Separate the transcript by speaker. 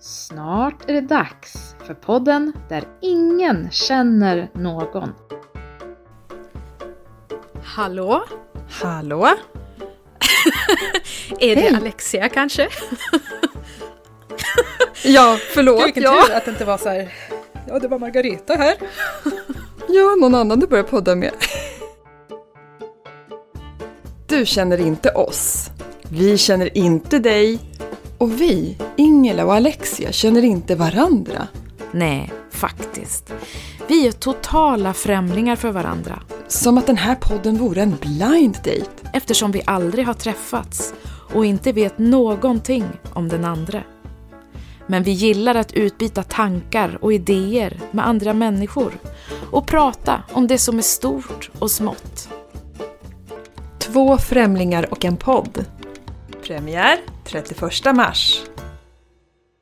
Speaker 1: Snart är det dags för podden där ingen känner någon.
Speaker 2: Hallå? Hallå? är det
Speaker 1: Hej.
Speaker 2: Alexia kanske?
Speaker 3: Ja, förlåt.
Speaker 2: Gud, vilken
Speaker 3: ja.
Speaker 2: tur att det inte var så här. Ja, det var Margareta här.
Speaker 3: ja, någon annan du börjar podda med. Du känner inte oss. Vi känner inte dig. Och vi, Ingela och Alexia, känner inte varandra.
Speaker 4: Nej, faktiskt. Vi är totala främlingar för varandra
Speaker 3: Som att den här podden vore en blind date.
Speaker 4: eftersom vi aldrig har träffats och inte vet någonting om den andra. Men vi gillar att utbyta tankar och idéer med andra människor och prata om det som är stort och smått.
Speaker 5: Två främlingar och en podd.
Speaker 3: Premiär 31 mars.